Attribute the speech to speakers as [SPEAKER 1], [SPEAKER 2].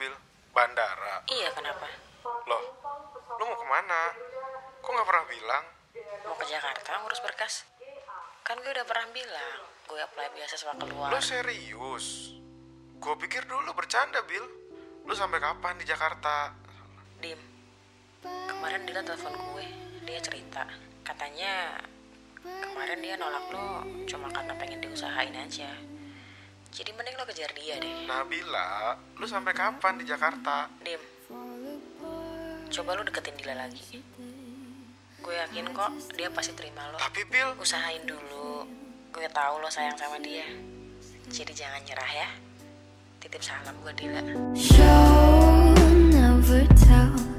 [SPEAKER 1] Bil? Bandara.
[SPEAKER 2] Iya kenapa?
[SPEAKER 1] Loh, lu mau kemana? Kok nggak pernah bilang?
[SPEAKER 2] Mau ke Jakarta ngurus berkas? Kan gue udah pernah bilang gue apply beasiswa keluar.
[SPEAKER 1] Lu serius? Gue pikir dulu bercanda, Bil. Lu sampai kapan di Jakarta?
[SPEAKER 2] Dim, kemarin Dila telepon gue, dia cerita katanya kemarin dia nolak lo cuma karena pengen diusahain aja. Jadi mending lo kejar dia deh.
[SPEAKER 1] Nabila, lu Nah, sampai kapan di Jakarta?
[SPEAKER 2] Dim, coba lo deketin Dila lagi. Gue yakin kok dia pasti terima lo.
[SPEAKER 1] Tapi Bil,
[SPEAKER 2] Usahain dulu. Gue tahu lo sayang sama dia. Jadi jangan nyerah ya. Titip salam gue Dila.
[SPEAKER 3] Show, never tell.